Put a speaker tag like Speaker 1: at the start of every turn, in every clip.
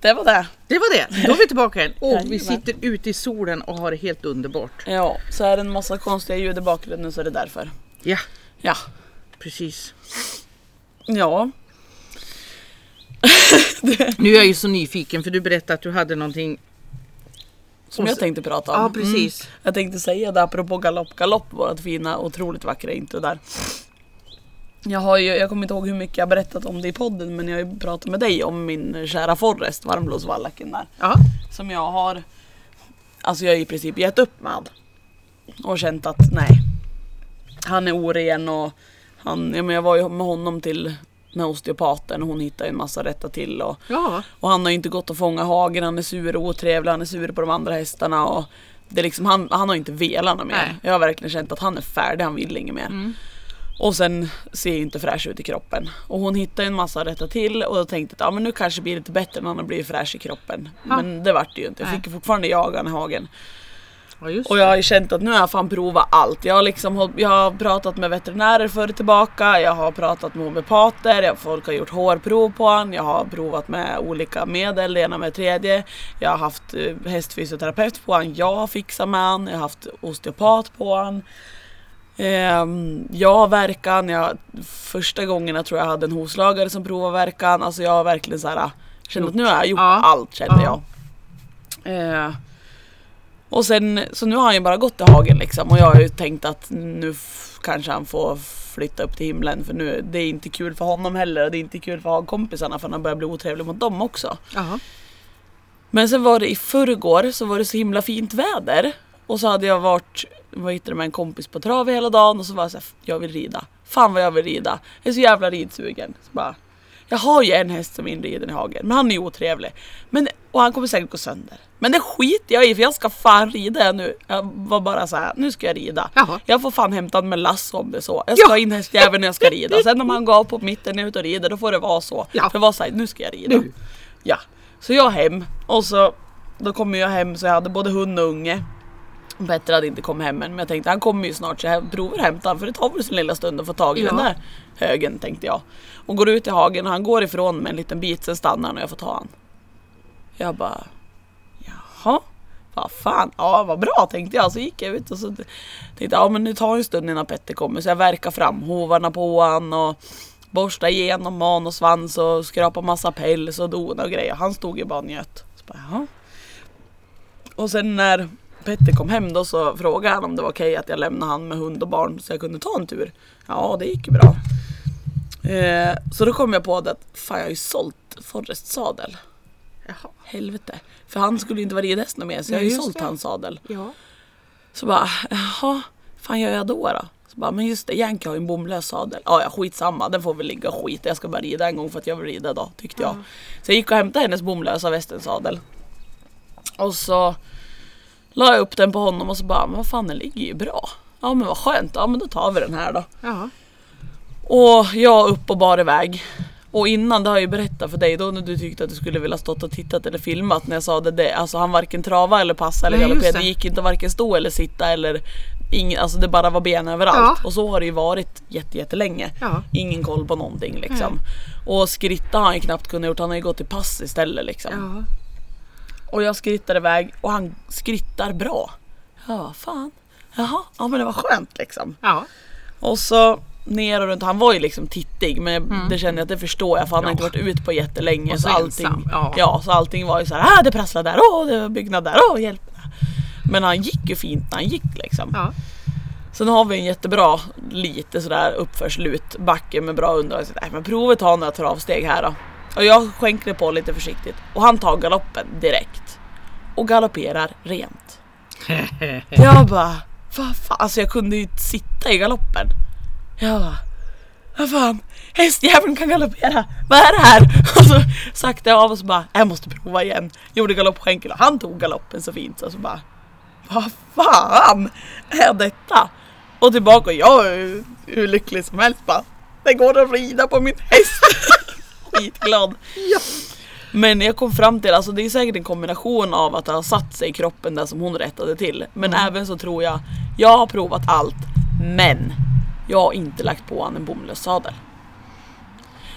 Speaker 1: Det var det.
Speaker 2: Det var det, då är vi tillbaka igen. Och vi
Speaker 1: Jajamän.
Speaker 2: sitter ute i solen och har det helt underbart.
Speaker 1: Ja, så är det en massa konstiga ljud i bakgrunden så är det därför.
Speaker 2: Ja,
Speaker 1: Ja.
Speaker 2: precis.
Speaker 1: Ja.
Speaker 2: Nu är jag ju så nyfiken för du berättade att du hade någonting.
Speaker 1: Som
Speaker 2: Och
Speaker 1: jag
Speaker 2: så-
Speaker 1: tänkte prata om.
Speaker 2: Ja, precis.
Speaker 1: Mm. Jag tänkte säga det apropå galopp galopp, vårt fina otroligt vackra intro där. Jag, har ju, jag kommer inte ihåg hur mycket jag berättat om det i podden men jag har ju pratat med dig om min kära Forrest, varmblåsvallacken där.
Speaker 2: Ja,
Speaker 1: Som jag har, alltså jag har i princip gett upp med. Och känt att nej, han är oren och han, ja, men jag var ju med honom till med osteopaten och hon hittade ju en massa rätta till och
Speaker 2: ja.
Speaker 1: och han har ju inte gått och fångat hagen, han är sur och otrevlig, han är sur på de andra hästarna. Och det är liksom, han, han har inte velat något mer.
Speaker 2: Nej.
Speaker 1: Jag har verkligen känt att han är färdig, han vill inget mer. Och sen ser ju inte fräsch ut i kroppen. Och hon hittade ju en massa att rätta till och jag tänkte att ja, men nu kanske det blir lite bättre när han har blivit fräsch i kroppen. Men det vart det ju inte. Jag fick ju fortfarande jaga han i hagen.
Speaker 2: ja just
Speaker 1: Och jag har ju känt att nu har jag fan provat allt. Jag har, liksom, håll- jag har pratat med veterinärer förr tillbaka, jag har pratat med homeopater, jag, folk har gjort hårprov på han, jag har provat med olika medel, det ena med det tredje. Jag har haft eh, hästfysioterapeut på han, jag har fixat med han, jag har haft osteopat på han. Ehm, jag har verkan, jag, första gången jag tror jag hade en hovslagare som provade verkan. Alltså jag har verkligen såhär, kände att nu har jag gjort
Speaker 2: Ja.
Speaker 1: allt kände
Speaker 2: Ja.
Speaker 1: jag. Eh, och sen, så nu har han ju bara gått till hagen liksom och jag har ju tänkt att nu f- kanske han får flytta upp till himlen för nu, det är inte kul för honom heller och det är inte kul för hagkompisarna för han börjar bli otrevlig mot dem också.
Speaker 2: Jaha.
Speaker 1: Men sen var det i förrgår så var det så himla fint väder och så hade jag varit vad heter det, med en kompis på trav hela dagen och så var jag såhär, jag vill rida. Fan vad jag vill rida. Jag är så jävla ridsugen. Så bara, jag har ju en häst som är inriden i hagen men han är ju otrevlig. Men, och han kommer säkert gå sönder. Men det skiter jag i för jag ska fan rida jag nu. Jag var bara så här, nu ska jag rida.
Speaker 2: Jaha.
Speaker 1: Jag får fan hämta en med lass om det är så. Jag ska ha in hästjäveln när jag ska rida. Sen om han går av på mitten när jag är ute och rider då får det vara så.
Speaker 2: Ja.
Speaker 1: För det var såhär, nu ska jag rida.
Speaker 2: Nu.
Speaker 1: Ja, så jag hem och så då kommer jag hem så jag hade både hund och unge. Petter hade inte kommit hem än men jag tänkte han kommer ju snart så jag provar att hämta han för det tar väl sin lilla stund att få tag i
Speaker 2: Ja.
Speaker 1: den där högen tänkte jag. Och går ut i hagen och han går ifrån mig en liten bit sen stannar han och jag får ta han. Jag bara Jaha, vad fan, ja vad bra tänkte jag. Så gick jag ut och så tänkte jag ja men nu tar en stund innan Petter kommer så jag verkar fram hovarna på han och borsta igenom man och svans och skrapa massa päls och dona och grejer. Han stod ju bara och njöt. Så bara, Jaha. Och sen när Petter kom hem då så frågade han om det var okej att jag lämnade han med hund och barn så jag kunde ta en tur. Ja, det gick ju bra. Eh, så då kom jag på det att fan jag har ju sålt Forrest sadel.
Speaker 2: Jaha.
Speaker 1: Helvete. För han skulle ju inte vara ridhäst något mer så jag har ju
Speaker 2: Nej, just
Speaker 1: sålt
Speaker 2: det.
Speaker 1: hans sadel.
Speaker 2: Ja.
Speaker 1: Så bara, jaha, fan gör jag då då? Så bara, men just det, Yankee har ju en bomlös sadel. Ja, ja, skitsamma, den får väl ligga och skita. Jag ska bara rida en gång för att jag vill rida då, tyckte jag. Så jag gick och hämtade hennes bomlösa västensadel. Och så la jag upp den på honom och så bara, men vad fan den ligger ju bra. Ja men vad skönt, ja men då tar vi den här då.
Speaker 2: Jaha.
Speaker 1: Och jag upp och bar iväg. Och innan, det har jag ju berättat för dig då när du tyckte att du skulle vilja stått och tittat eller filmat när jag sa det, det alltså han varken trava eller passa eller
Speaker 2: Nej, just
Speaker 1: galopperade, det
Speaker 2: det.
Speaker 1: gick inte att varken stå eller sitta eller ingen, alltså det bara var ben överallt.
Speaker 2: Ja.
Speaker 1: Och så har det ju varit jätte, jättelänge.
Speaker 2: Ja. Mm.
Speaker 1: Ingen koll på någonting liksom. Och skritta har han ju knappt kunnat gjort, han har ju gått till pass istället liksom.
Speaker 2: Jaha.
Speaker 1: Och jag skrittar iväg och han skrittar bra. Ja, fan. Jaha, ja men det var skönt liksom.
Speaker 2: Ja.
Speaker 1: Och så ner och runt, han var ju liksom tittig men det kände jag att det förstår jag för han har inte varit ut på jättelänge.
Speaker 2: Mm. Och så
Speaker 1: allting,
Speaker 2: ensam, ja.
Speaker 1: så allting var ju så här, ah, det prasslar där, åh det var byggnad där, åh hjälp. Men han gick ju fint när han gick liksom.
Speaker 2: Ja.
Speaker 1: Sen har vi en jättebra lite sådär uppförslut backe med bra underlag. Så, nej, men provet har några travsteg här då. Och jag skänker på lite försiktigt och han tar galoppen direkt. Och galopperar rent. Jag bara, vad fan, alltså jag kunde ju inte sitta i galoppen. Jag bara, vad fan, hästjäveln kan galoppera, vad är det här? Och så sakta jag av och så bara, jag måste prova igen. Gjorde galoppskänkel och han tog galoppen så fint så, så bara, vad fan är detta? Och tillbaka och jag är ju hur lycklig som helst bara, det går att rida på min häst. Skitglad. Men jag kom fram till, alltså det är säkert en kombination av att det har satt sig i kroppen där som hon rättade till. Men även så tror jag, jag har provat allt men jag har inte lagt på han en bomlös sadel.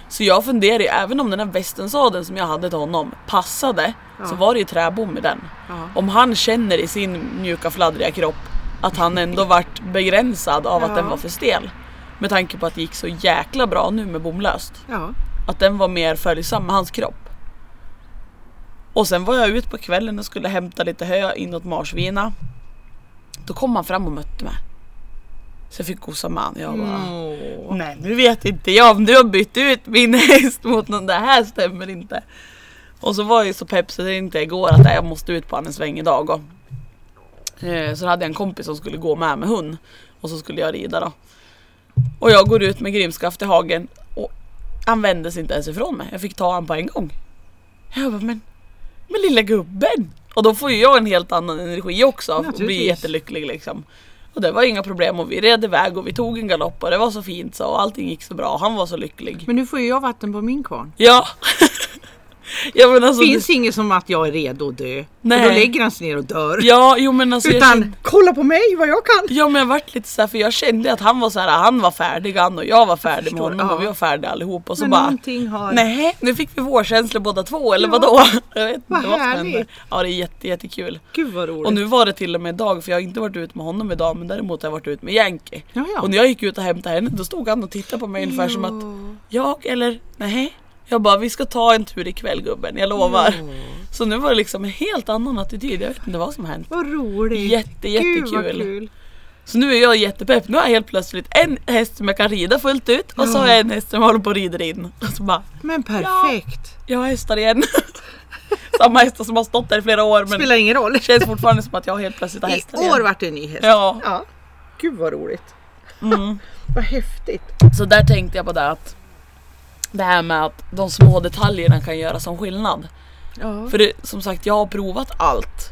Speaker 1: Så jag funderar ju, även om den här västensadeln som jag hade till honom passade så
Speaker 2: Ja.
Speaker 1: var det ju träbom i den.
Speaker 2: Ja.
Speaker 1: Om han känner i sin mjuka fladdriga kropp att han ändå vart begränsad av att
Speaker 2: Ja.
Speaker 1: den var för stel. Med tanke på att det gick så jäkla bra nu med bomlöst.
Speaker 2: Ja.
Speaker 1: Att den var mer följsam med hans kropp. Och sen var jag ut på kvällen och skulle hämta lite hö inåt Marsvina. Då kom han fram och mötte mig. Så jag fick gosa med han.
Speaker 2: Mm.
Speaker 1: Jag bara,
Speaker 2: Åh.
Speaker 1: nej nu vet inte jag om du har bytt ut min häst mot någon, det här stämmer inte. Och så var jag ju så pepp så det inte igår att nej, jag måste ut på han en sväng idag. Och, eh, så hade jag en kompis som skulle gå med med hund och så skulle jag rida då. Och jag går ut med grimskaft i hagen och han vände sig inte ens ifrån mig. Jag fick ta han på en gång. Jag bara, men, men lilla gubben! Och då får ju jag en helt annan energi också och blir
Speaker 2: Naturligtvis.
Speaker 1: jättelycklig liksom. Och det var inga problem och vi red iväg och vi tog en galopp och det var så fint så och allting gick så bra och han var så lycklig.
Speaker 2: Men nu får ju jag vatten på min kvarn.
Speaker 1: Ja! ja men alltså,
Speaker 2: Finns inget som att jag är redo att dö.
Speaker 1: Nej.
Speaker 2: Nej. Då lägger han sig ner och dör.
Speaker 1: Ja, jo men alltså jag
Speaker 2: Utan
Speaker 1: kände,
Speaker 2: kolla på mig vad jag kan.
Speaker 1: Ja men jag vart lite såhär för jag kände att han var såhär, han var färdig han och jag var färdig
Speaker 2: förstår,
Speaker 1: med honom
Speaker 2: ja.
Speaker 1: och vi var färdiga allihop och så
Speaker 2: Men
Speaker 1: bara
Speaker 2: någonting har...
Speaker 1: Nej, nu fick vi vårkänslor båda två eller
Speaker 2: Ja.
Speaker 1: vadå? Jag vet inte
Speaker 2: Vad
Speaker 1: vad, som
Speaker 2: härligt.
Speaker 1: hände. Ja det är jätte, jättekul.
Speaker 2: Gud vad roligt.
Speaker 1: Och nu var det till och med idag för jag har inte varit ut med honom idag men däremot har jag varit ut med Yankee.
Speaker 2: Ja, ja.
Speaker 1: Och när jag gick ut och hämtade henne då stod han och tittade på mig ungefär som att Jag eller nej. Jag bara vi ska ta en tur ikväll gubben, jag lovar.
Speaker 2: Mm.
Speaker 1: Så nu var det liksom en helt annan attityd, jag vet inte vad som hänt.
Speaker 2: Vad roligt.
Speaker 1: Jätte,
Speaker 2: Gud vad
Speaker 1: jättekul.
Speaker 2: kul.
Speaker 1: Så nu är jag jättepepp, nu har jag helt plötsligt en häst som jag kan rida fullt ut och så har jag en häst som jag håller på och rider in. Och så bara,
Speaker 2: Men perfekt.
Speaker 1: jag har hästar igen. Samma hästar som har stått där i flera år men
Speaker 2: Spelar ingen roll.
Speaker 1: det känns fortfarande som att jag helt plötsligt har
Speaker 2: I
Speaker 1: hästar
Speaker 2: år
Speaker 1: igen.
Speaker 2: vart det en ny häst.
Speaker 1: Ja,
Speaker 2: Ja. Gud vad roligt.
Speaker 1: mm.
Speaker 2: Vad häftigt.
Speaker 1: så där tänkte jag på det att det här med att de små detaljerna kan göra som skillnad.
Speaker 2: Ja.
Speaker 1: För det, som sagt, jag har provat allt.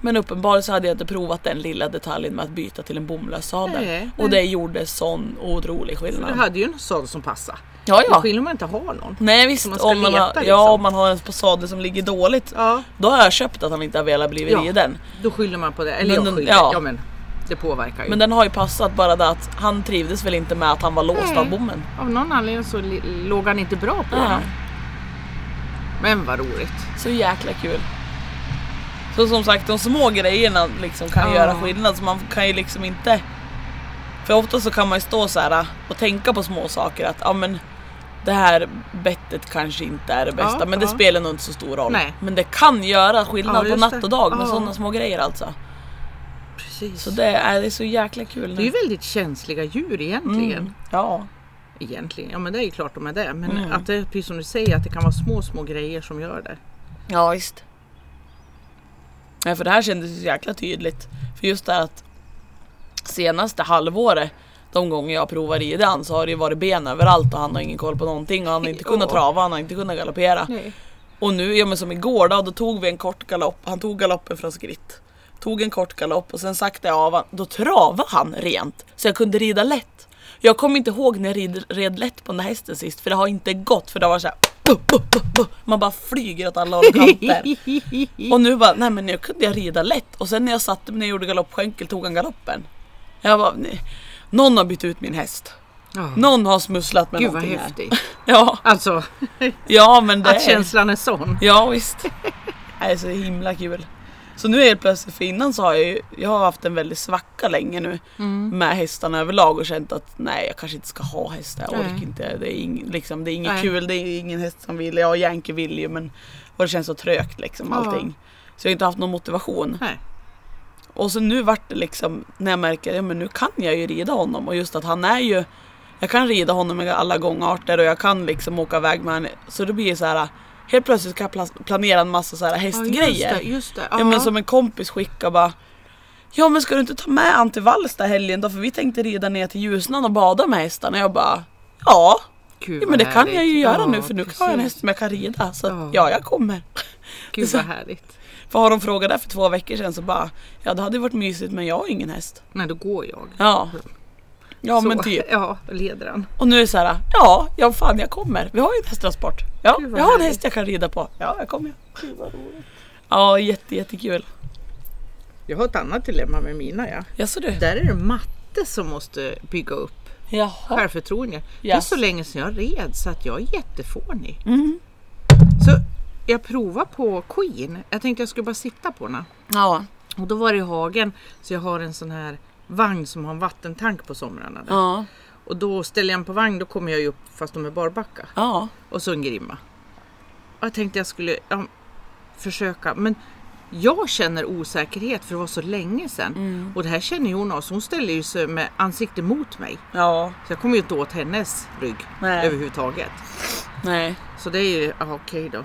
Speaker 1: Men uppenbarligen så hade jag inte provat den lilla detaljen med att byta till en bomlös sadel.
Speaker 2: Nej,
Speaker 1: och det gjorde sån otrolig
Speaker 2: Du
Speaker 1: skillnad.
Speaker 2: hade ju en sån som passade.
Speaker 1: Ja,
Speaker 2: Det är
Speaker 1: ja.
Speaker 2: skillnad om man inte har någon.
Speaker 1: Nej visst,
Speaker 2: Som man ska
Speaker 1: om man, har,
Speaker 2: leta,
Speaker 1: ja,
Speaker 2: liksom.
Speaker 1: om man har en sadel som ligger dåligt.
Speaker 2: Ja.
Speaker 1: Då har jag köpt att han inte har velat bli
Speaker 2: Ja.
Speaker 1: riden.
Speaker 2: Då skyller man på det. Eller
Speaker 1: Men
Speaker 2: jag
Speaker 1: den-
Speaker 2: skyller.
Speaker 1: ja.
Speaker 2: Ja. men det påverkar ju.
Speaker 1: Men den har ju passat bara det att han trivdes väl inte med att han var låst
Speaker 2: Nej.
Speaker 1: av bommen.
Speaker 2: Av någon anledning så li- låg han inte bra på
Speaker 1: Ja.
Speaker 2: den. Men vad roligt.
Speaker 1: Så jäkla kul. Så som sagt de små grejerna liksom kan
Speaker 2: Ja.
Speaker 1: göra skillnad så man kan ju liksom inte För ofta så kan man ju stå så här äh, och tänka på små saker att ja men det här bettet kanske inte är det bästa
Speaker 2: Ja,
Speaker 1: men det
Speaker 2: ja.
Speaker 1: spelar nog inte så stor roll.
Speaker 2: Nej.
Speaker 1: Men det kan göra
Speaker 2: Ja,
Speaker 1: skillnad på
Speaker 2: just
Speaker 1: natt
Speaker 2: det.
Speaker 1: och dag med
Speaker 2: Ja.
Speaker 1: sådana små grejer alltså.
Speaker 2: Precis.
Speaker 1: Så det är, det är så jäkla kul.
Speaker 2: Det är ju väldigt känsliga djur egentligen.
Speaker 1: Mm. Ja.
Speaker 2: Egentligen, ja men det är ju klart de är det. Men att det, precis som du säger, att det kan vara små, små grejer som gör det.
Speaker 1: Ja visst. Nej för det här kändes ju så jäkla tydligt. För just det här att senaste halvåret de gånger jag provar ridan så har det ju varit ben överallt och han har ingen koll på någonting och han har inte kunnat
Speaker 2: Ja.
Speaker 1: trava, han har inte kunnat galoppera.
Speaker 2: Nej.
Speaker 1: Och nu, ja men som igår då, då tog vi en kort galopp, han tog galoppen från skritt. Tog en kort galopp och sen sakta jag av han. Då travade han rent. Så jag kunde rida lätt. Jag kommer inte ihåg när jag rid, red lätt på den här hästen sist för det har inte gått för det var såhär man bara flyger åt alla håll och kanter. Och nu bara, nej men nu kunde jag rida lätt och sen när jag satte mig när jag gjorde galoppskänkel tog han galoppen. Jag bara, nej. någon har bytt ut min häst.
Speaker 2: Ja.
Speaker 1: Någon har smusslat med
Speaker 2: Mm. Gud vad
Speaker 1: någonting här.
Speaker 2: häftigt.
Speaker 1: Ja,
Speaker 2: Alltså,
Speaker 1: ja men det
Speaker 2: att
Speaker 1: är...
Speaker 2: känslan är sån.
Speaker 1: Ja visst. Det är så himla kul. Så nu är det plötsligt, för innan så har jag ju, jag har haft en väldigt svacka länge nu
Speaker 2: Mm.
Speaker 1: med hästarna överlag och känt att nej jag kanske inte ska ha hästar, jag
Speaker 2: Nej.
Speaker 1: orkar inte. Det är, ing, liksom, det är inget
Speaker 2: Nej.
Speaker 1: kul, det är ingen häst som vill, jag och Yankee vill ju men och det känns så trögt liksom
Speaker 2: Ja.
Speaker 1: allting. Så jag har inte haft någon motivation.
Speaker 2: Nej.
Speaker 1: Och så nu vart det liksom när jag märker, ja men nu kan jag ju rida honom och just att han är ju Jag kan rida honom med alla gångarter och jag kan liksom åka iväg med honom. Så det blir så här Helt plötsligt ska jag plas- planera en massa så här hästgrejer.
Speaker 2: Ja, just det. Just det.
Speaker 1: ja men som en kompis skickar bara Ja men ska du inte ta med han till Vallsta helgen då? För vi tänkte rida ner till Ljusnan och bada med hästarna. Jag bara Ja,
Speaker 2: Gud,
Speaker 1: ja men
Speaker 2: vad
Speaker 1: det kan
Speaker 2: härligt.
Speaker 1: jag ju göra
Speaker 2: Ja,
Speaker 1: nu för nu kan jag en
Speaker 2: precis.
Speaker 1: häst som jag kan rida. Så att,
Speaker 2: Ja.
Speaker 1: ja jag kommer.
Speaker 2: Gud vad härligt.
Speaker 1: För har de frågat det för två veckor sedan så bara Ja det hade ju varit mysigt men jag har ingen häst.
Speaker 2: Nej, då går jag.
Speaker 1: Ja. Ja
Speaker 2: Så.
Speaker 1: men typ.
Speaker 2: Ja, då leder han.
Speaker 1: Och nu är det så här, ja, ja fan jag kommer. Vi har ju en hästtransport. Ja,
Speaker 2: Gud, vad
Speaker 1: jag har en
Speaker 2: härligt.
Speaker 1: häst jag kan rida på. Ja, jag kommer. Ja, jätte, jättekul.
Speaker 2: Jag har ett annat dilemma med mina ja.
Speaker 1: Jaså du?
Speaker 2: Där är det matte som måste bygga upp
Speaker 1: Jaha.
Speaker 2: Självförtroende. Det är
Speaker 1: Yes.
Speaker 2: så länge sedan jag red så att jag är jättefånig.
Speaker 1: Mm.
Speaker 2: Så jag provade på Queen. Jag tänkte jag skulle bara sitta på den.
Speaker 1: Ja.
Speaker 2: Och då var det i hagen, så jag har en sån här vagn som har en vattentank på somrarna. Där.
Speaker 1: Ja.
Speaker 2: Och då ställer jag den på vagn, då kommer jag ju upp fast de är barbacka.
Speaker 1: Ja.
Speaker 2: Och så en grimma. Och jag tänkte jag skulle ja, försöka, men jag känner osäkerhet för det var så länge sedan.
Speaker 1: Mm.
Speaker 2: Och det här känner ju hon av, så hon ställer ju sig med ansiktet mot mig.
Speaker 1: Ja.
Speaker 2: Så jag kommer ju inte åt hennes rygg
Speaker 1: Nej.
Speaker 2: överhuvudtaget.
Speaker 1: Nej.
Speaker 2: Så det är ju, ja, okej då.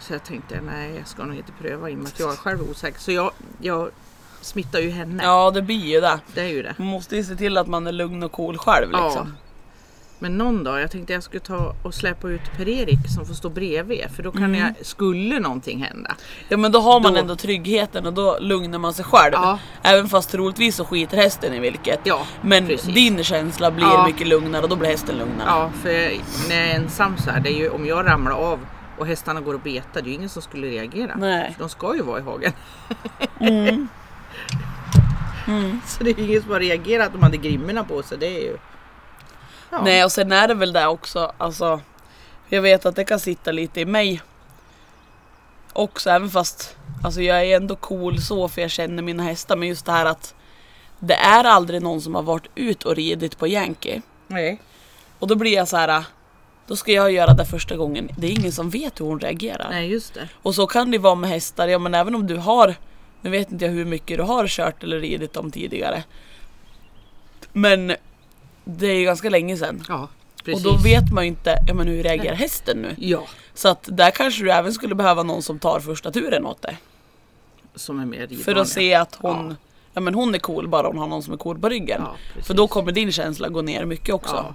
Speaker 2: Så jag tänkte, nej jag ska nog inte pröva i och med att jag är själv osäker. Så jag, jag smittar ju henne.
Speaker 1: Ja det blir ju det.
Speaker 2: Det är ju det.
Speaker 1: Man måste ju se till att man är lugn och cool själv liksom.
Speaker 2: Ja. Men någon dag, jag tänkte jag skulle ta och släppa ut Per-Erik som får stå bredvid för då kan
Speaker 1: Mm.
Speaker 2: jag, skulle någonting hända.
Speaker 1: Ja, men då har man
Speaker 2: Då-
Speaker 1: ändå tryggheten och då lugnar man sig själv.
Speaker 2: Ja.
Speaker 1: Även fast troligtvis så skiter hästen i vilket.
Speaker 2: Ja,
Speaker 1: men
Speaker 2: precis.
Speaker 1: din känsla blir
Speaker 2: Ja.
Speaker 1: mycket lugnare och då blir hästen lugnare.
Speaker 2: Ja, för jag, när jag är ensam så här, det är ju om jag ramlar av och hästarna går och betar, det är ju ingen som skulle reagera.
Speaker 1: Nej. Mm.
Speaker 2: För de ska ju vara i hagen. Så det är ju ingen som har reagerat att de hade grimmorna på sig. Det är ju... Ja.
Speaker 1: Nej och sen är det väl det också, alltså. Jag vet att det kan sitta lite i mig. Också även fast alltså jag är ändå cool så för jag känner mina hästar. Men just det här att det är aldrig någon som har varit ut och ridit på Yankee.
Speaker 2: Nej.
Speaker 1: Och då blir jag så här. Då ska jag göra det första gången. Det är ingen som vet hur hon reagerar.
Speaker 2: Nej, just det.
Speaker 1: Och så kan det vara med hästar, ja men även om du har, nu vet inte jag hur mycket du har kört eller ridit dem tidigare. Men det är ju ganska länge sedan.
Speaker 2: Ja, precis.
Speaker 1: Och då vet man ju inte, ja men hur reagerar hästen nu?
Speaker 2: Ja,
Speaker 1: Så att där kanske du även skulle behöva någon som tar första turen åt dig.
Speaker 2: som är mer
Speaker 1: För
Speaker 2: ridvana.
Speaker 1: att se att hon,
Speaker 2: Ja.
Speaker 1: ja. men hon är cool bara hon har någon som är cool på ryggen.
Speaker 2: Ja, precis.
Speaker 1: För då kommer din känsla gå ner mycket också.
Speaker 2: Ja.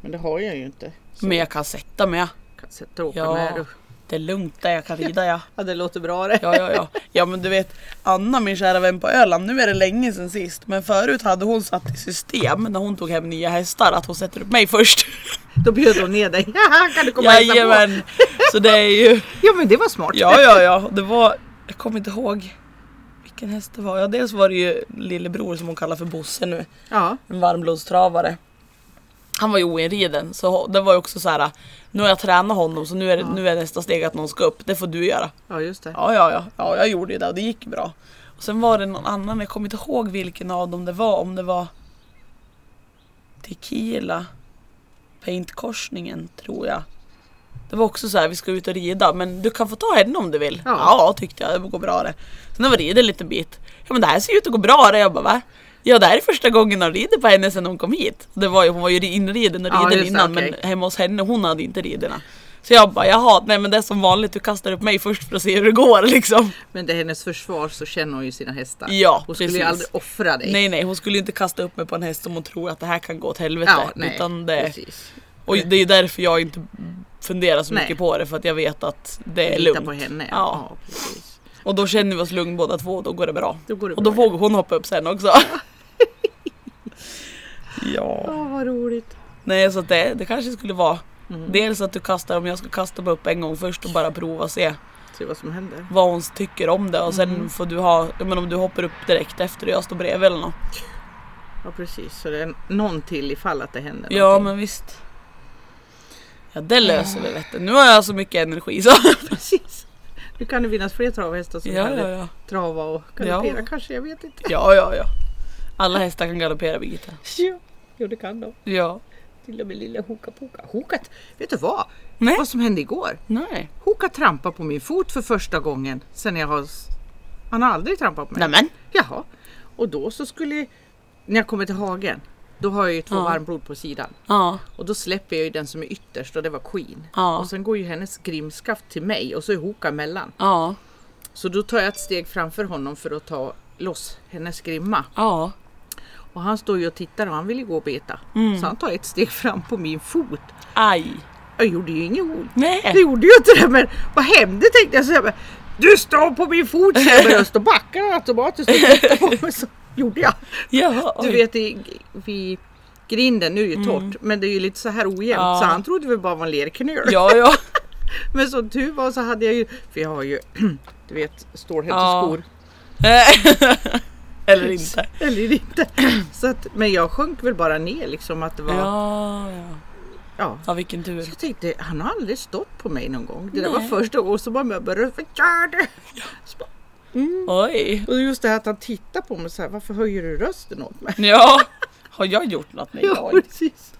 Speaker 2: Men det har jag ju inte. Så
Speaker 1: Men jag kan sätta mig.
Speaker 2: kan sätta och åka
Speaker 1: Ja.
Speaker 2: med. Och...
Speaker 1: Det är lugnt där, jag kan rida jag.
Speaker 2: Ja, det låter bra det.
Speaker 1: Ja, ja, ja. Ja, men du vet Anna, min kära vän på Öland. Nu är det länge sedan sist, men förut hade hon satt i system när hon tog hem nya hästar att hon sätter upp mig först.
Speaker 2: Då bjöd hon ner dig. Haha, kan du komma och hälsa på?
Speaker 1: Jajamän! Så det är ju...
Speaker 2: Ja men det var smart.
Speaker 1: Ja, ja, ja. Det var... Jag kommer inte ihåg vilken häst det var. Ja, dels var det ju lillebror som hon kallar för Bosse nu.
Speaker 2: Ja.
Speaker 1: En varmblodstravare. Han var ju oinriden, så det var ju också så här. Nu har jag tränat honom så nu är, det, nu är nästa steg att någon ska upp. Det får du göra.
Speaker 2: ja just det.
Speaker 1: Ja, ja, ja, ja, jag gjorde ju det och det gick bra. Och sen var det någon annan, jag kommer inte ihåg vilken av dem det var, om det var Tequila Paintkorsningen tror jag. Det var också så här, vi ska ut och rida, men du kan få ta henne om du vill.
Speaker 2: Ja.
Speaker 1: Ja, tyckte jag, det går bra det. Sen när vi rider en liten bit, ja men det här ser ju ut att gå bra det. Jag bara va? Ja det här är första gången de rider på henne sedan hon kom hit. Det var ju, hon var ju inriden och
Speaker 2: Ja,
Speaker 1: riden
Speaker 2: just det,
Speaker 1: innan
Speaker 2: okej.
Speaker 1: men hemma hos henne hon hade inte riderna. Så jag bara jaha, nej men det är som vanligt, du kastar upp mig först för att se hur det går liksom.
Speaker 2: Men det är hennes försvar så känner hon ju sina hästar.
Speaker 1: Ja,
Speaker 2: Hon skulle ju
Speaker 1: precis.
Speaker 2: aldrig offra dig.
Speaker 1: Nej nej, hon skulle ju inte kasta upp mig på en häst som hon tror att det här kan gå åt helvete.
Speaker 2: ja, nej.
Speaker 1: utan det,
Speaker 2: precis.
Speaker 1: och det är ju därför jag inte funderar så
Speaker 2: Nej.
Speaker 1: mycket på det för att jag vet att det är
Speaker 2: Lita
Speaker 1: lugnt.
Speaker 2: på henne.
Speaker 1: Ja.
Speaker 2: ja precis.
Speaker 1: Och då känner vi oss lugn båda två och då går det bra.
Speaker 2: Då går det
Speaker 1: och då
Speaker 2: bra.
Speaker 1: vågar hon hoppa upp sen också. ja.
Speaker 2: Ja, vad roligt.
Speaker 1: Nej så att det, det kanske skulle vara
Speaker 2: Mm.
Speaker 1: dels att du kastar, om jag ska kasta mig upp en gång först och bara prova och se
Speaker 2: Se vad som händer.
Speaker 1: vad hon tycker om det och sen får du ha, jag menar om du hoppar upp direkt efter och jag står bredvid eller något.
Speaker 2: Ja precis. Så det är någon till ifall att det händer
Speaker 1: Ja men visst. Ja det löser vi vet du. Nu har jag så mycket energi så.
Speaker 2: men precis. Nu kan det finnas fler travhästar som
Speaker 1: Ja
Speaker 2: kan
Speaker 1: ja ja.
Speaker 2: trava och galoppera
Speaker 1: Ja.
Speaker 2: kanske. Jag vet inte.
Speaker 1: Ja ja ja. Alla hästar kan galoppera Birgitta.
Speaker 2: Ja. Jo det kan de.
Speaker 1: Ja.
Speaker 2: Till och med lilla Hoka-Poka. Hokat, vet du vad?
Speaker 1: Nej.
Speaker 2: Vad som hände igår?
Speaker 1: Nej.
Speaker 2: Hoka trampar på min fot för första gången sen jag har... s- Han har aldrig trampat på mig.
Speaker 1: Nämen.
Speaker 2: Jaha. Och då så skulle... När jag kommer till hagen, då har jag ju två
Speaker 1: Ja.
Speaker 2: varmblod på sidan.
Speaker 1: Ja.
Speaker 2: Och då släpper jag ju den som är ytterst och det var Queen.
Speaker 1: Ja.
Speaker 2: Och sen går ju hennes grimskaft till mig och så är Hoka emellan.
Speaker 1: Ja.
Speaker 2: Så då tar jag ett steg framför honom för att ta loss hennes grimma.
Speaker 1: Ja.
Speaker 2: Och han står ju och tittar och han vill ju gå och beta.
Speaker 1: Mm.
Speaker 2: Så han tar ett steg fram på min fot.
Speaker 1: Aj.
Speaker 2: Jag gjorde ju inget ont. Det
Speaker 1: Nej.
Speaker 2: gjorde ju inte det men vad hände tänkte jag. Så jag bara, du står på min fot så jag började stå och backa automatiskt och titta på mig. Så gjorde jag.
Speaker 1: Ja.
Speaker 2: Du
Speaker 1: oj. Mm.
Speaker 2: vet i, vid grinden, nu är det ju torrt men det är ju lite så här ojämnt
Speaker 1: Ja.
Speaker 2: så han trodde väl bara var en lerknöl.
Speaker 1: Ja ja.
Speaker 2: Men som tur var så hade jag ju, för jag har ju du vet stålhätteskor.
Speaker 1: Eh, Eller inte.
Speaker 2: Eller inte. Så att, men jag sjönk väl bara ner liksom att det var... Ja.
Speaker 1: Ja, ja. ja, vilken tur.
Speaker 2: Så jag tänkte, han har aldrig stått på mig någon gång. Det där
Speaker 1: Nej.
Speaker 2: var första gången som han började förklara det. Så bara,
Speaker 1: Oj.
Speaker 2: Och just det här att han tittar på mig så här, varför höjer du rösten åt mig?
Speaker 1: Ja, har jag gjort något med
Speaker 2: Ja,
Speaker 1: idag?
Speaker 2: precis.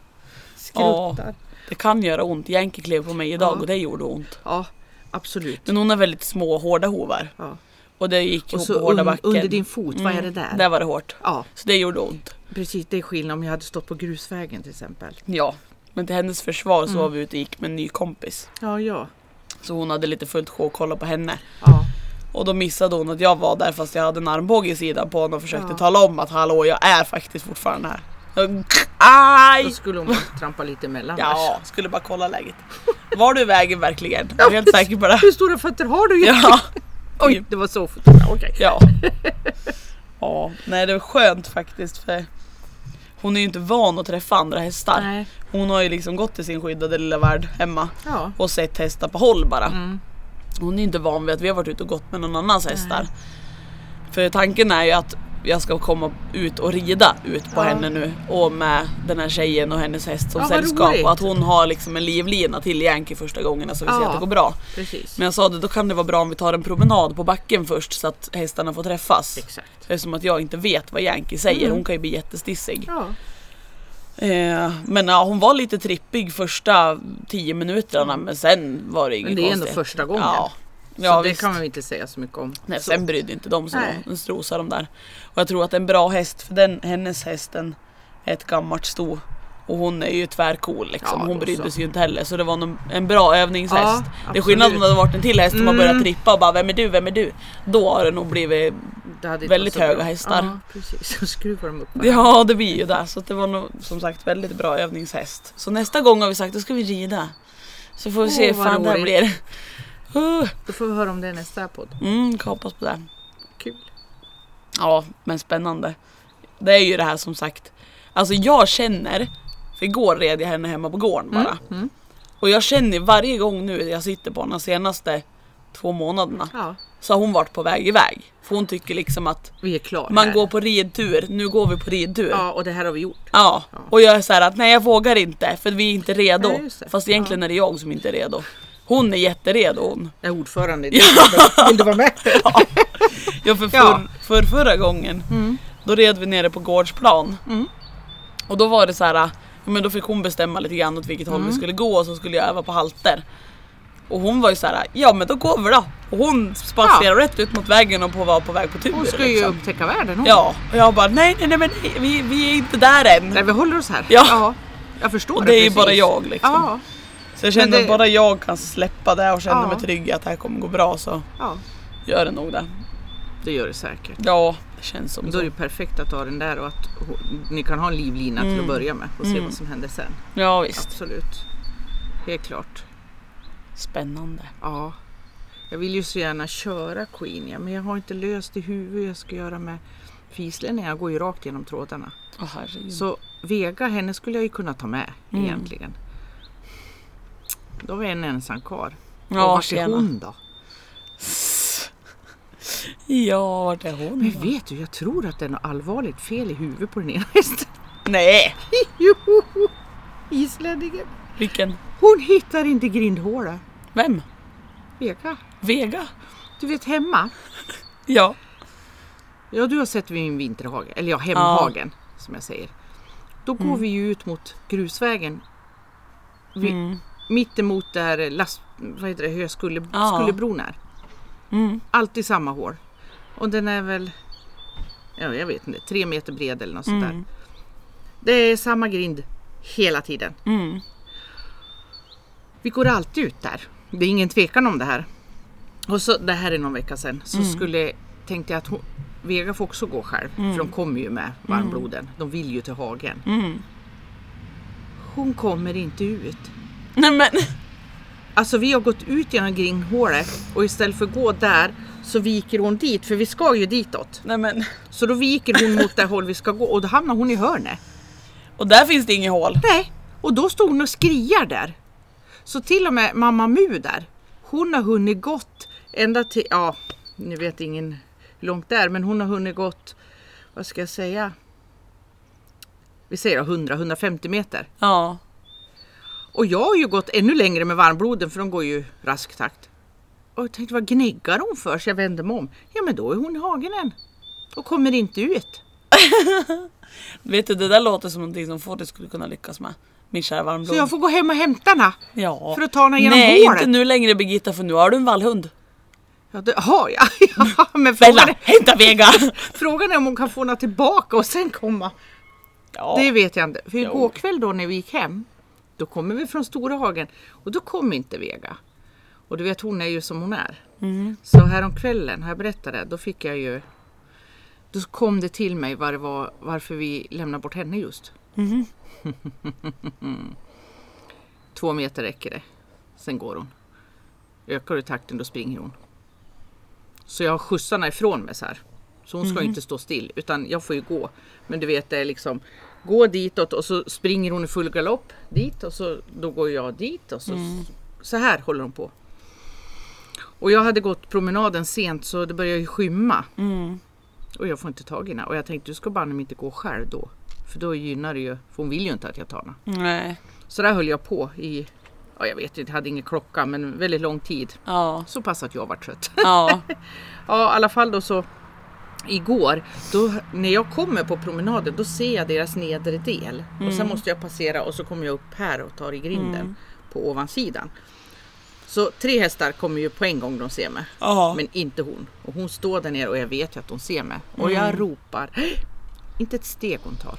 Speaker 2: Skruttar.
Speaker 1: Det kan göra ont. Yankee klev på mig idag
Speaker 2: Ja.
Speaker 1: och det gjorde ont.
Speaker 2: Ja, absolut.
Speaker 1: Men hon har väldigt små hårda hovar.
Speaker 2: Ja.
Speaker 1: Och det gick
Speaker 2: Mm. Och
Speaker 1: ihop
Speaker 2: så
Speaker 1: på hårda
Speaker 2: un,
Speaker 1: backen. Mm,
Speaker 2: under din fot, vad är det där?
Speaker 1: Där var det hårt.
Speaker 2: Ja,
Speaker 1: Så det gjorde ont.
Speaker 2: precis. Det är skillnad om jag hade stått på grusvägen till exempel.
Speaker 1: Ja. Men till hennes försvar så
Speaker 2: Mm.
Speaker 1: var vi ute och gick med en ny kompis.
Speaker 2: Ja, ja.
Speaker 1: Så hon hade lite fullt sjå att kolla på henne.
Speaker 2: Ja,
Speaker 1: Och då missade hon att jag var där fast jag hade en armbåge i sidan på honom och försökte
Speaker 2: Ja.
Speaker 1: tala om att hallå jag är faktiskt fortfarande här. Och-
Speaker 2: då
Speaker 1: Aj!
Speaker 2: skulle hon bara trampa lite emellan.
Speaker 1: Ja, skulle bara kolla läget. Var du i vägen verkligen? Jag är helt
Speaker 2: precis.
Speaker 1: säker på det.
Speaker 2: Hur stora fötter har du egentligen?
Speaker 1: Ja.
Speaker 2: Oj, det var så fort. Okej.
Speaker 1: Ja. ja. Nej det var skönt faktiskt för hon är ju inte van att träffa andra hästar.
Speaker 2: Nej.
Speaker 1: Hon har ju liksom gått i sin skyddade lilla värld hemma
Speaker 2: Ja.
Speaker 1: och sett hästar på håll bara.
Speaker 2: Mm.
Speaker 1: Hon är inte van vid att vi har varit ute och gått med någon annans hästar. För tanken är ju att jag ska komma ut och rida ut på
Speaker 2: Ja.
Speaker 1: henne nu och med den här tjejen och hennes häst som
Speaker 2: Ja, vad
Speaker 1: sällskap
Speaker 2: roligt.
Speaker 1: och att hon har liksom en livlina till Yankee första gången så vi ser
Speaker 2: Ja.
Speaker 1: att det går bra.
Speaker 2: Precis.
Speaker 1: Men jag sa det, då kan det vara bra om vi tar en promenad på backen först så att hästarna får träffas.
Speaker 2: Exakt.
Speaker 1: Eftersom att jag inte vet vad Yankee säger,
Speaker 2: Mm.
Speaker 1: hon kan ju bli jättestissig.
Speaker 2: Ja.
Speaker 1: Eh, men ja, hon var lite trippig första tio minuterna men sen var det inget
Speaker 2: Mm. Men det är ändå
Speaker 1: konstigt.
Speaker 2: första gången.
Speaker 1: Ja,
Speaker 2: Så
Speaker 1: ja
Speaker 2: det
Speaker 1: visst.
Speaker 2: kan man ju inte säga så mycket om.
Speaker 1: Nej,
Speaker 2: så.
Speaker 1: sen brydde inte de sig
Speaker 2: Nej.
Speaker 1: om. De strosade de där. Och jag tror att en bra häst, för den, hennes hästen är ett gammalt sto. Och hon är ju tvärcool liksom.
Speaker 2: Ja,
Speaker 1: hon
Speaker 2: då
Speaker 1: brydde
Speaker 2: så.
Speaker 1: sig ju inte heller. Så det var en, en bra övningshäst.
Speaker 2: Ja,
Speaker 1: det är skillnad om det
Speaker 2: absolut.
Speaker 1: hade varit en till häst som har börjat
Speaker 2: Mm.
Speaker 1: trippa och bara Vem är du? Vem är du? Då har det nog blivit
Speaker 2: Det hade inte
Speaker 1: väldigt
Speaker 2: varit så
Speaker 1: höga
Speaker 2: bra.
Speaker 1: hästar.
Speaker 2: Ja, precis. Så skruvar de upp varandra.
Speaker 1: Ja det blir ju det. Så att det var nog som sagt väldigt bra övningshäst. Så nästa gång har vi sagt då ska vi rida. Så får vi se
Speaker 2: Åh,
Speaker 1: hur
Speaker 2: vad
Speaker 1: fan det här blir.
Speaker 2: roligt.
Speaker 1: Uh,
Speaker 2: Då får vi höra om det i nästa podd.
Speaker 1: Mm, kan hoppas på det.
Speaker 2: Kul.
Speaker 1: Ja, men spännande. Det är ju det här som sagt. Alltså jag känner, för igår red jag henne hemma på gården bara.
Speaker 2: Mm.
Speaker 1: Och jag känner varje gång nu jag sitter på henne de senaste två månaderna
Speaker 2: Ja,
Speaker 1: så har hon varit på väg iväg. För hon tycker liksom att
Speaker 2: vi är klara
Speaker 1: man
Speaker 2: här.
Speaker 1: går på ridtur, nu går vi på ridtur. Ja.
Speaker 2: Ja, och det här har vi gjort.
Speaker 1: Och jag är så här att nej jag vågar inte för vi är inte redo.
Speaker 2: Nej, just det.
Speaker 1: Fast egentligen är det jag som inte är redo. Hon är jätteredo hon.
Speaker 2: Jag är ordförande i det. Vill du vara med?
Speaker 1: Ja, för, för,
Speaker 2: Ja. Mm.
Speaker 1: för förra gången då red vi nere på gårdsplan. Och då var det så här, ja, men då fick hon bestämma lite grann åt vilket
Speaker 2: Mm.
Speaker 1: håll vi skulle gå och så skulle jag öva på halter. Och hon var ju så här, ja men då går vi då. Och hon spatserade rätt ut mot vägen och på, var på väg på tur.
Speaker 2: Hon ska ju
Speaker 1: liksom.
Speaker 2: upptäcka världen hon.
Speaker 1: Ja, och jag bara nej nej nej, men nej vi, vi är inte där än.
Speaker 2: Nej, vi håller oss här.
Speaker 1: Ja.
Speaker 2: Jag förstår
Speaker 1: och
Speaker 2: det
Speaker 1: det är ju
Speaker 2: precis.
Speaker 1: bara jag liksom.
Speaker 2: Ja,
Speaker 1: Så jag känner
Speaker 2: Men det-
Speaker 1: att bara jag kan släppa det och känna
Speaker 2: Ja.
Speaker 1: mig trygg i att det här kommer gå bra så
Speaker 2: ja,
Speaker 1: gör det nog det.
Speaker 2: det gör det säkert.
Speaker 1: Ja, det känns som
Speaker 2: Då
Speaker 1: så.
Speaker 2: är det ju perfekt att ha den där och att hon- ni kan ha en livlina till att börja med och se vad som händer sen.
Speaker 1: Ja Mm. visst.
Speaker 2: Absolut. Helt klart.
Speaker 1: Spännande.
Speaker 2: Ja. Jag vill ju så gärna köra Queen, ja, men jag har inte löst i huvudet hur jag ska göra med fislänningarna. Jag går ju rakt genom trådarna.
Speaker 1: Åh herregud.
Speaker 2: Så Vega, henne skulle jag ju kunna ta med
Speaker 1: Mm.
Speaker 2: egentligen. Då var jag en ensam kvar.
Speaker 1: Ja,
Speaker 2: och vart är
Speaker 1: tjena.
Speaker 2: hon då?
Speaker 1: Ja, vart är hon?
Speaker 2: Men
Speaker 1: då?
Speaker 2: vet du, jag tror att det är något allvarligt fel i huvudet på den ena hästen.
Speaker 1: Nej,
Speaker 2: Joho! Islänningen.
Speaker 1: vilken?
Speaker 2: Hon hittar inte grindhålet.
Speaker 1: Vem?
Speaker 2: Vega.
Speaker 1: Vega?
Speaker 2: Du vet hemma.
Speaker 1: Ja.
Speaker 2: Ja, du har sett min vinterhage, eller ja, hemhagen som jag säger. Då går vi ju ut mot grusvägen. Vi, Mitt emot där last, vad heter det, Höskulle,
Speaker 1: Ja.
Speaker 2: Skullebron är.
Speaker 1: Mm.
Speaker 2: Alltid samma hål. Och den är väl, ja, jag vet inte, tre meter bred eller något sånt
Speaker 1: Mm.
Speaker 2: där. Det är samma grind hela tiden.
Speaker 1: Mm.
Speaker 2: Vi går alltid ut där. Det är ingen tvekan om det här. Och så, det här är någon vecka sedan, så
Speaker 1: Mm.
Speaker 2: skulle, tänkte jag att hon, Vega får också gå själv. För de kommer ju med varmbloden. De vill ju till hagen.
Speaker 1: Mm.
Speaker 2: Hon kommer inte ut.
Speaker 1: Nej men.
Speaker 2: Alltså vi har gått ut genom grindhålet och istället för att gå där så viker hon dit, för vi ska ju ditåt.
Speaker 1: Nej men.
Speaker 2: Så då viker hon mot det håll vi ska gå och då hamnar hon i hörnet.
Speaker 1: Och där finns det inget hål.
Speaker 2: Nej, och då stod hon och skriar där. Så till och med mamma Mu där, hon har hunnit gått ända till, ja, nu vet ingen hur långt det är, men hon har hunnit gått vad ska jag säga? Vi säger 100-150 meter.
Speaker 1: Ja.
Speaker 2: Och jag har ju gått ännu längre med varmbloden för de går ju rask takt. Och jag tänkte vad gniggar hon för så jag vände mig om. Ja men då är hon i hagen än. Och kommer inte ut.
Speaker 1: Vet du, det där låter som någonting som Fortis skulle kunna lyckas med. Min kära
Speaker 2: Så
Speaker 1: varmblod.
Speaker 2: jag får gå hem och hämta henne.
Speaker 1: Ja.
Speaker 2: för att ta henne genom
Speaker 1: Nej,
Speaker 2: hålet.
Speaker 1: inte nu längre Birgitta för nu har du en vallhund.
Speaker 2: Ja, det har jag. Ja, men frågan
Speaker 1: Bella,
Speaker 2: är,
Speaker 1: hämta Vega!
Speaker 2: frågan är om hon kan få henne tillbaka och sen komma.
Speaker 1: Ja.
Speaker 2: Det vet jag inte. För
Speaker 1: Jo.
Speaker 2: igår kväll då när vi gick hem, då kommer vi från Stora hagen och då kom inte Vega. Och du vet hon är ju som hon är.
Speaker 1: Mm.
Speaker 2: Så häromkvällen, har jag berättat det, då fick jag ju... Då kom det till mig var det var, varför vi lämnade bort henne just.
Speaker 1: Mm-hmm.
Speaker 2: Två meter räcker det, sen går hon. Ökar du takten då springer hon. Så jag har skjutsarna ifrån mig så här. Så hon ska ju inte stå still utan jag får ju gå. Men du vet det är liksom gå ditåt och så springer hon i full galopp dit och så då går jag dit och så, så här håller hon på. Och jag hade gått promenaden sent så det började ju skymma. Och jag får inte tag i henne och jag tänkte du ska banne mig inte gå själv då. För då gynnar det ju, för hon vill ju inte att jag tar henne.
Speaker 1: Nej.
Speaker 2: Så där höll jag på i, ja jag vet inte, jag hade ingen klocka men väldigt lång tid.
Speaker 1: Ja.
Speaker 2: Så pass att jag var trött.
Speaker 1: Ja.
Speaker 2: Ja, i alla fall då så igår, då, när jag kommer på promenaden, då ser jag deras nedre del. Och sen måste jag passera och så kommer jag upp här och tar i grinden på ovansidan. Så tre hästar kommer ju på en gång de ser mig.
Speaker 1: Ja.
Speaker 2: Men inte hon. Och hon står där nere och jag vet ju att hon ser mig. Och jag ropar. Inte ett steg hon tar.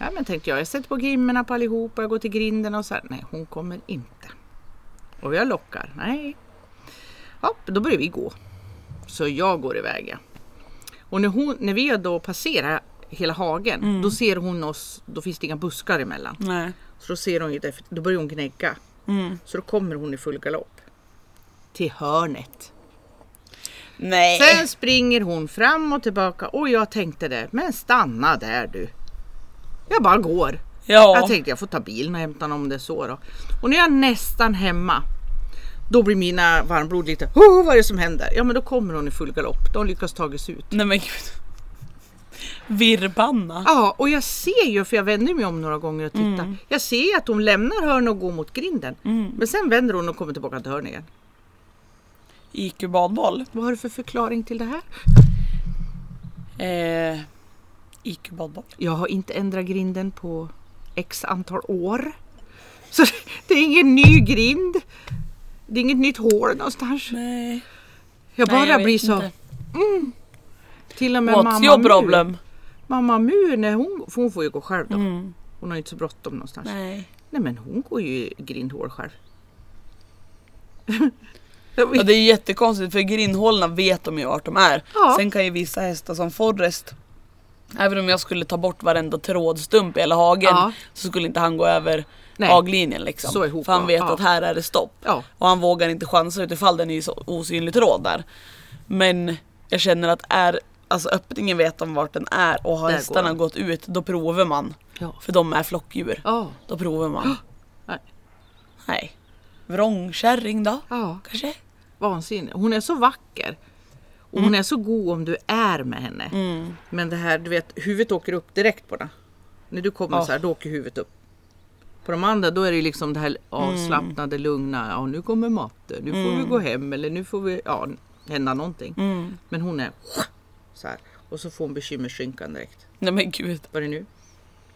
Speaker 2: Ja men tänkte jag, jag sätter på grimmorna på allihopa, jag går till grinden och så här. Nej, hon kommer inte. Och jag lockar. Nej. Ja, då börjar vi gå. Så jag går iväg. ja. Och när, hon, när vi då passerar hela hagen, då ser hon oss, då finns det inga buskar emellan.
Speaker 1: Nej.
Speaker 2: Så då ser hon ju det, för då börjar hon gnägga. Så då kommer hon i full galopp. Till hörnet.
Speaker 1: Nej.
Speaker 2: Sen springer hon fram och tillbaka och jag tänkte det, men stanna där du. Jag bara går. Jag
Speaker 1: Ja.
Speaker 2: tänkte jag får ta bilen och hämta honom om det är så då. Och när jag är nästan hemma, då blir mina varmblod lite, oh, vad är det som händer? Ja men då kommer hon i full galopp, då har hon lyckats ta sig ut.
Speaker 1: Nej men gud. Virrbanna.
Speaker 2: Ja, och jag ser ju, för jag vänder mig om några gånger och tittar.
Speaker 1: Mm.
Speaker 2: Jag ser att hon lämnar hörnet och går mot grinden. Men sen vänder hon och kommer tillbaka till hörnet igen.
Speaker 1: IQ badboll.
Speaker 2: Vad har du för förklaring till det här?
Speaker 1: Eh, IQ badboll.
Speaker 2: Jag har inte ändrat grinden på x antal år. Så det är ingen ny grind. Det är inget nytt hål någonstans.
Speaker 1: Nej.
Speaker 2: Jag bara
Speaker 1: Nej, jag vet
Speaker 2: blir så...
Speaker 1: inte.
Speaker 2: Till och med
Speaker 1: What's
Speaker 2: mamma
Speaker 1: your
Speaker 2: Mu.
Speaker 1: problem? Mm.
Speaker 2: Mamma Mu, när hon, för hon får ju gå själv då. Hon har ju inte så bråttom någonstans. Nej.
Speaker 1: Nej.
Speaker 2: men hon går ju i grindhål själv.
Speaker 1: Ja, det är jättekonstigt för grindhålorna vet de ju vart de är.
Speaker 2: Ja.
Speaker 1: Sen kan ju vissa hästar som Forrest Även om jag skulle ta bort varenda trådstump i hela hagen
Speaker 2: Ja.
Speaker 1: så skulle inte han gå över
Speaker 2: Nej.
Speaker 1: haglinjen liksom.
Speaker 2: Så ihop,
Speaker 1: för han
Speaker 2: ja.
Speaker 1: vet
Speaker 2: Ja.
Speaker 1: att här är det stopp.
Speaker 2: Ja.
Speaker 1: Och han vågar inte chansa utifall den är ju så osynlig tråd där. Men jag känner att är alltså öppningen vet om vart den är och har
Speaker 2: Där går
Speaker 1: hästarna
Speaker 2: den.
Speaker 1: gått ut då provar man.
Speaker 2: Ja.
Speaker 1: För de är flockdjur.
Speaker 2: Ja.
Speaker 1: Då provar man.
Speaker 2: Nej.
Speaker 1: Nej. Vrångkärring då?
Speaker 2: ja.
Speaker 1: Kanske?
Speaker 2: vansinnig. Hon är så vacker. Och hon är så god om du är med henne. Men det här, du vet, huvudet åker upp direkt på den. När du kommer
Speaker 1: Ja.
Speaker 2: så här, då åker huvudet upp. På de andra, då är det ju liksom det här avslappnade, lugna. Ja, nu kommer maten, nu får vi gå hem eller nu får vi, ja, hända någonting.
Speaker 1: Mm.
Speaker 2: Men hon är så här. Och så får hon bekymmerssynkan direkt.
Speaker 1: Nej men gud.
Speaker 2: Vad är det nu?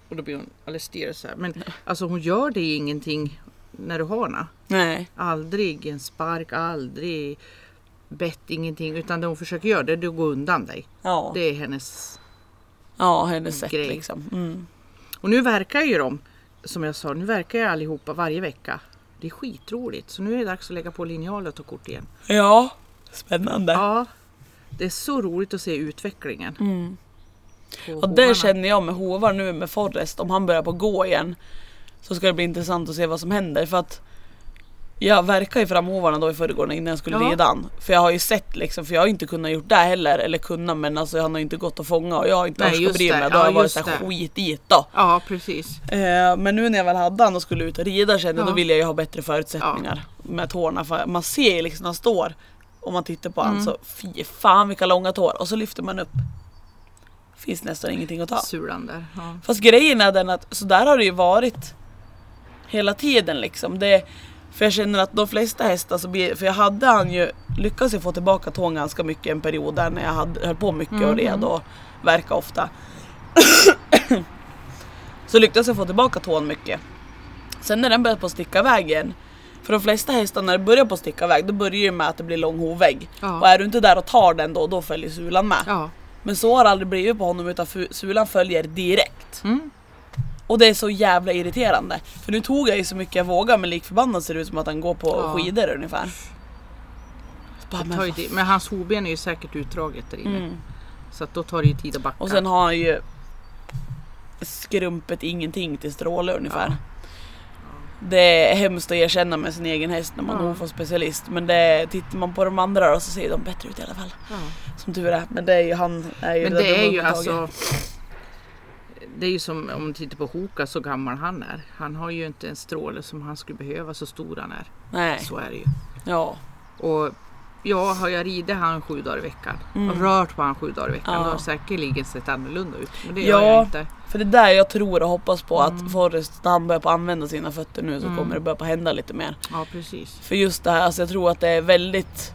Speaker 2: Och då blir hon alldeles stirrig så här. Men alltså hon gör det ingenting när du har henne.
Speaker 1: Nej.
Speaker 2: Aldrig en spark, aldrig bett, ingenting. Utan det hon försöker göra det är att gå undan dig.
Speaker 1: Ja.
Speaker 2: Det är hennes...
Speaker 1: Ja hennes sätt
Speaker 2: Grej.
Speaker 1: liksom. Mm.
Speaker 2: Och nu verkar ju de, som jag sa, nu verkar ju allihopa varje vecka. Det är skitroligt. Så nu är det dags att lägga på linjal och ta kort igen.
Speaker 1: Ja. Spännande.
Speaker 2: Ja, det är så roligt att se utvecklingen. på
Speaker 1: Mm. Och det
Speaker 2: hovarna.
Speaker 1: känner jag med hovar nu med Forrest, om han börjar på gå igen så ska det bli intressant att se vad som händer för att jag verkar ju fram hovarna då i förrgår innan jag skulle
Speaker 2: Ja.
Speaker 1: rida han. För jag har ju sett liksom, för jag har inte kunnat gjort det heller, eller kunnat men alltså han har ju inte gått att fånga och jag har inte
Speaker 2: Nej,
Speaker 1: orkat
Speaker 2: just
Speaker 1: bry
Speaker 2: det.
Speaker 1: mig. Då
Speaker 2: Ja,
Speaker 1: har jag varit
Speaker 2: just
Speaker 1: såhär
Speaker 2: det.
Speaker 1: skit i det då.
Speaker 2: Ja, precis.
Speaker 1: Eh, men nu när jag väl hade han och skulle ut och rida kände jag då
Speaker 2: Ja.
Speaker 1: vill jag ju ha bättre förutsättningar med tårna. För man ser ju liksom när han står,
Speaker 2: Mm.
Speaker 1: om man tittar på han så fy fan vilka långa tår och så lyfter man upp. finns nästan ingenting att ta.
Speaker 2: Sulan där. Ja.
Speaker 1: Fast grejen är den att så där har det ju varit hela tiden liksom. Det, för jag känner att de flesta hästar, så blir, för jag hade han ju, lyckats jag få tillbaka tån ganska mycket en period där när jag hade, höll på mycket och
Speaker 2: Mm-hmm.
Speaker 1: red och verkade ofta. så lyckades jag få tillbaka tån mycket. Sen när den började på att sticka iväg igen, för de flesta hästar när det börjar på att sticka iväg då börjar ju med att det blir lång hovvägg.
Speaker 2: Ja.
Speaker 1: Och är du inte där och tar den då, då följer sulan med.
Speaker 2: ja.
Speaker 1: Men så har det aldrig blivit på honom utan fu- sulan följer direkt.
Speaker 2: Mm.
Speaker 1: Och det är så jävla irriterande. För nu tog jag ju så mycket jag vågade men lik förbannat ser det ut som att han går på
Speaker 2: Ja.
Speaker 1: skidor ungefär. Så bara,
Speaker 2: Det
Speaker 1: men
Speaker 2: tar ju
Speaker 1: vad
Speaker 2: tid. Men hans hovben är ju säkert utdraget där inne.
Speaker 1: Mm.
Speaker 2: Så att då tar det ju tid att backa.
Speaker 1: Och sen har han ju skrumpet ingenting till stråle ungefär. Det är hemskt att erkänna med sin egen häst när man
Speaker 2: Ja.
Speaker 1: ja. får specialist men det, tittar man på de andra då så ser de bättre ut i alla fall.
Speaker 2: ja.
Speaker 1: Som tur är. Men det är ju han är ju
Speaker 2: Men
Speaker 1: den
Speaker 2: det är ju
Speaker 1: undantaget.
Speaker 2: alltså Det är ju som om du tittar på Hoka så gammal han är. Han har ju inte en stråle som han skulle behöva så stor han är.
Speaker 1: Nej.
Speaker 2: Så är det ju.
Speaker 1: Ja.
Speaker 2: Och ja, har jag ridit han sju dagar i veckan
Speaker 1: Mm.
Speaker 2: och rört på han sju dagar i veckan
Speaker 1: Ja.
Speaker 2: då har det säkerligen sett annorlunda ut. Men det
Speaker 1: Ja.
Speaker 2: gör jag inte.
Speaker 1: För det är där jag tror och hoppas på att Forrest, när han börjar på att använda sina fötter nu så
Speaker 2: Mm.
Speaker 1: kommer det börja på att hända lite mer.
Speaker 2: Ja precis.
Speaker 1: För just det här, alltså jag tror att det är väldigt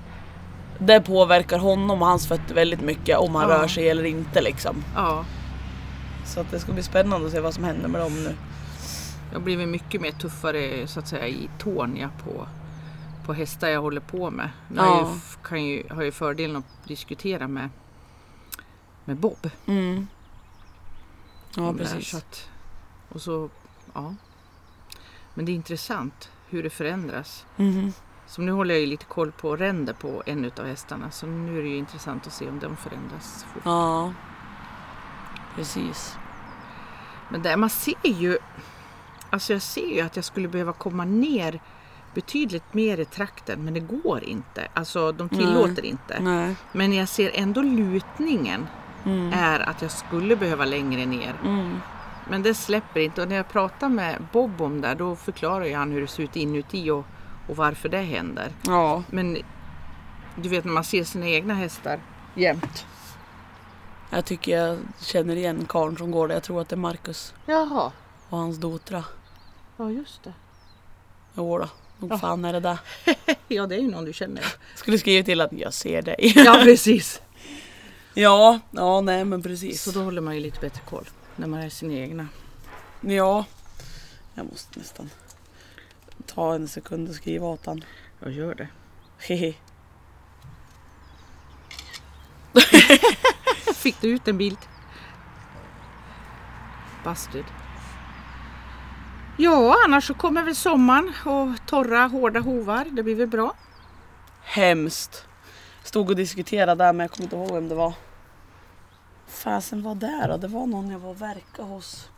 Speaker 1: det påverkar honom och hans fötter väldigt mycket om han
Speaker 2: Ja.
Speaker 1: rör sig eller inte liksom.
Speaker 2: Ja,
Speaker 1: Så att det ska bli spännande att se vad som händer med dem nu.
Speaker 2: jag har blivit mycket mer tuffare så att säga i tån jag på, på hästar jag håller på med. Nu har Jag
Speaker 1: Ja.
Speaker 2: ju, f- kan ju, har ju fördelen att diskutera med, med Bob.
Speaker 1: Mm. Ja
Speaker 2: om det här, Så
Speaker 1: precis.
Speaker 2: att, och så, ja. Men det är intressant hur det förändras.
Speaker 1: Mhm.
Speaker 2: Så nu håller jag ju lite koll på ränder på en utav hästarna. Så nu är det ju intressant att se om de förändras. fort.
Speaker 1: Ja. Precis.
Speaker 2: Men där man ser ju, alltså jag ser ju att jag skulle behöva komma ner betydligt mer i trakten men det går inte. Alltså de tillåter inte.
Speaker 1: Nej.
Speaker 2: Men jag ser ändå lutningen
Speaker 1: Mm.
Speaker 2: är att jag skulle behöva längre ner.
Speaker 1: Mm.
Speaker 2: Men det släpper inte och när jag pratar med Bob om det här, då förklarar ju han hur det ser ut inuti och, och varför det händer.
Speaker 1: Ja.
Speaker 2: Men du vet när man ser sina egna hästar jämt.
Speaker 1: Jag tycker jag känner igen karln som går där. Jag tror att det är Marcus
Speaker 2: Jaha,
Speaker 1: och hans dotra.
Speaker 2: ja just det.
Speaker 1: Jodå, nog
Speaker 2: Ja.
Speaker 1: fan är det där.
Speaker 2: Ja det är ju någon du känner.
Speaker 1: Skulle skriva till att jag ser dig.
Speaker 2: Ja precis.
Speaker 1: ja, ja nej men precis.
Speaker 2: Så då håller man ju lite bättre koll när man är sina egna.
Speaker 1: Ja, jag måste nästan ta en sekund och skriva åt han.
Speaker 2: Jag gör det.
Speaker 1: Hehe.
Speaker 2: Fick du ut en bild? Bastard. Ja, annars så kommer väl sommaren och torra hårda hovar. Det blir väl bra.
Speaker 1: Hemskt. Stod och diskuterade där men jag kommer inte ihåg vem det var. Fasen var där då? Det var någon jag var och verkade hos.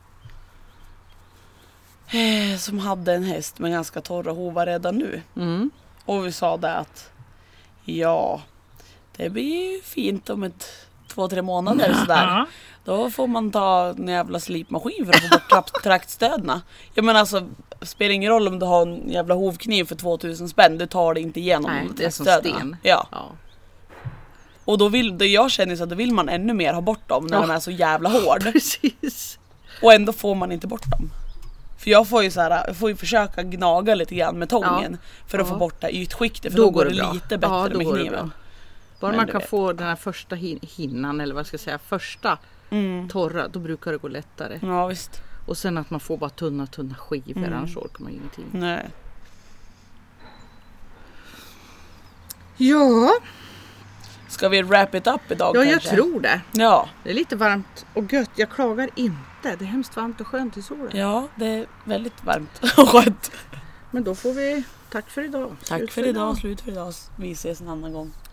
Speaker 1: Eh, Som hade en häst med ganska torra hovar redan nu.
Speaker 2: Mm.
Speaker 1: Och vi sa det att ja, det blir ju fint om ett två, tre månader sådär. Då får man ta en jävla slipmaskin för att få bort trakt- traktstödna. Jag menar alltså, spelar ingen roll om du har en jävla hovkniv för 2000 spänn, du tar det inte igenom
Speaker 2: Nej, det är som
Speaker 1: traktstödna.
Speaker 2: sten.
Speaker 1: Ja,
Speaker 2: Ja.
Speaker 1: och då vill, det jag känner så att då vill man ännu mer ha bort dem när
Speaker 2: Ja.
Speaker 1: de är så jävla hård.
Speaker 2: Precis.
Speaker 1: Och ändå får man inte bort dem. För jag får ju, så här, jag får ju försöka gnaga lite grann med tången för att
Speaker 2: Ja.
Speaker 1: få bort det här ytskiktet för då, går det
Speaker 2: bra.
Speaker 1: lite bättre
Speaker 2: Ja, då
Speaker 1: med
Speaker 2: går det
Speaker 1: kniven.
Speaker 2: bra. Bara
Speaker 1: Men
Speaker 2: man
Speaker 1: du
Speaker 2: kan
Speaker 1: vet.
Speaker 2: få den här första hin- hinnan eller vad jag ska säga, första torra, då brukar det gå lättare.
Speaker 1: Ja visst.
Speaker 2: Och sen att man får bara tunna, tunna skivor, annars orkar man ju ingenting.
Speaker 1: Nej.
Speaker 2: Ja,
Speaker 1: Ska vi wrap it up idag
Speaker 2: ja jag
Speaker 1: kanske?
Speaker 2: tror det.
Speaker 1: Ja.
Speaker 2: Det är lite varmt och gött. Jag klagar inte. Det är hemskt varmt och skönt i solen.
Speaker 1: ja, det är väldigt varmt och skönt.
Speaker 2: Men då får vi tack för idag.
Speaker 1: Tack
Speaker 2: Slut
Speaker 1: för idag, slut för idag. Vi ses en annan gång.